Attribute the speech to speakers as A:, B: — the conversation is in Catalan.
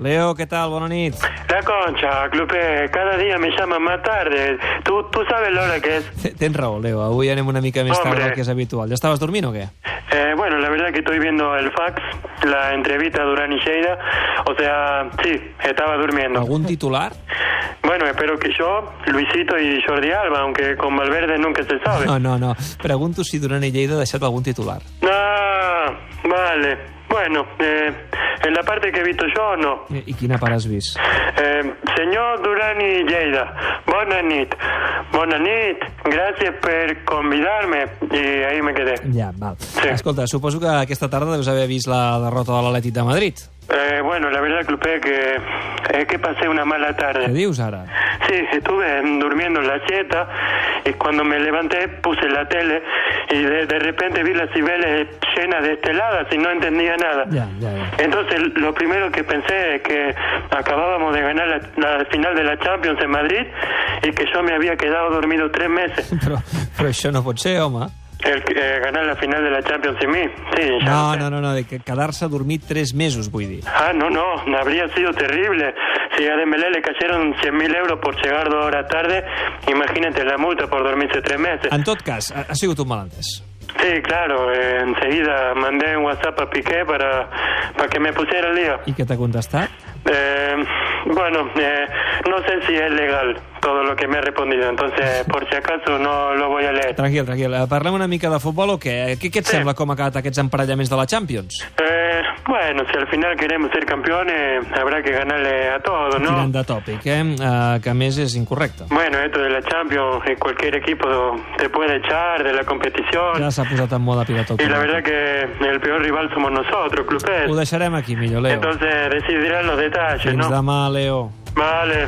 A: Leo, què tal? Bona nit.
B: La concha, Clupe, cada día me llama más tarde. Tú, tú sabes la hora que es.
A: Tens raó, Leo. Avui anem una mica més tard
B: Hombre.
A: del que és habitual. Ja estaves dormint o què?
B: Eh, bueno, la verdad que estoy viendo el fax, la entrevista de Durán y Sheida. O sea, sí, estaba durmiendo.
A: Algun titular?
B: Bueno, espero que yo, Luisito y Jordi Alba, aunque con Valverde nunca se sabe.
A: No, no, no. Pregunto si Duran i Lleida ha deixat algun titular.
B: Ah, vale. Bueno, eh, en la parte que he visto yo, no.
A: I, i quina part has vist?
B: Eh, señor Durán y Lleida, buenas nit. Buenas nit, gracias por convidarme. Y ahí me quedé.
A: Ja, val. Escolta, suposo que aquesta tarda deus haver vist la derrota de l'Atlètic de Madrid.
B: Eh, bueno, la verdad, Clupe, que es que pasé una mala
A: Què
B: tarde.
A: dius ara?
B: Sí, estuve mm, durmiendo en la siesta y cuando me levanté puse la tele y de, de repente vi las cibeles llenas de esteladas y no entendía nada.
A: Ja, ja, ja.
B: Entonces, lo primero que pensé es que acabábamos de ganar la, la final de la Champions en Madrid y que yo me había quedado dormido tres meses.
A: Però, però això no pot ser, home.
B: El, que- eh, ganar la final de la Champions y mí. Sí, ya
A: No, no, no, no de que- quedar-se a dormir tres mesos, vull dir.
B: Ah, no, no, habría sido terrible. Si a Dembélé le cayeron 100.000 euros por llegar dos horas tarde, imagínate la multa por dormirse tres meses.
A: En tot cas, ha, ha sigut un malentès.
B: Sí, claro, eh, enseguida mandé un WhatsApp a Piqué para, para que me pusiera el día.
A: I què t'ha contestat?
B: Eh, bueno, eh, no sé si es legal todo lo que me ha respondido, entonces por si acaso no lo voy a leer.
A: Tranquil, tranquil. Eh, Parlem una mica de futbol o què? Què, què et
B: Sí.
A: sembla com ha quedat aquests emparellaments de la Champions?
B: Eh, bueno, si al final queremos ser campeones, habrá que ganarle a todos, ¿no?
A: Tirant de tòpic, eh? eh? Que a més és incorrecte.
B: Bueno, esto de la Champions, eh, cualquier equipo te puede echar de la competición.
A: Ja s'ha posat en moda pirató.
B: Y la verdad que el peor rival somos nosotros, Clupés.
A: Ho deixarem aquí, millor, Leo.
B: Entonces decidirán los detalles,
A: Fins
B: ¿no?
A: demà, Leo.
B: Vale.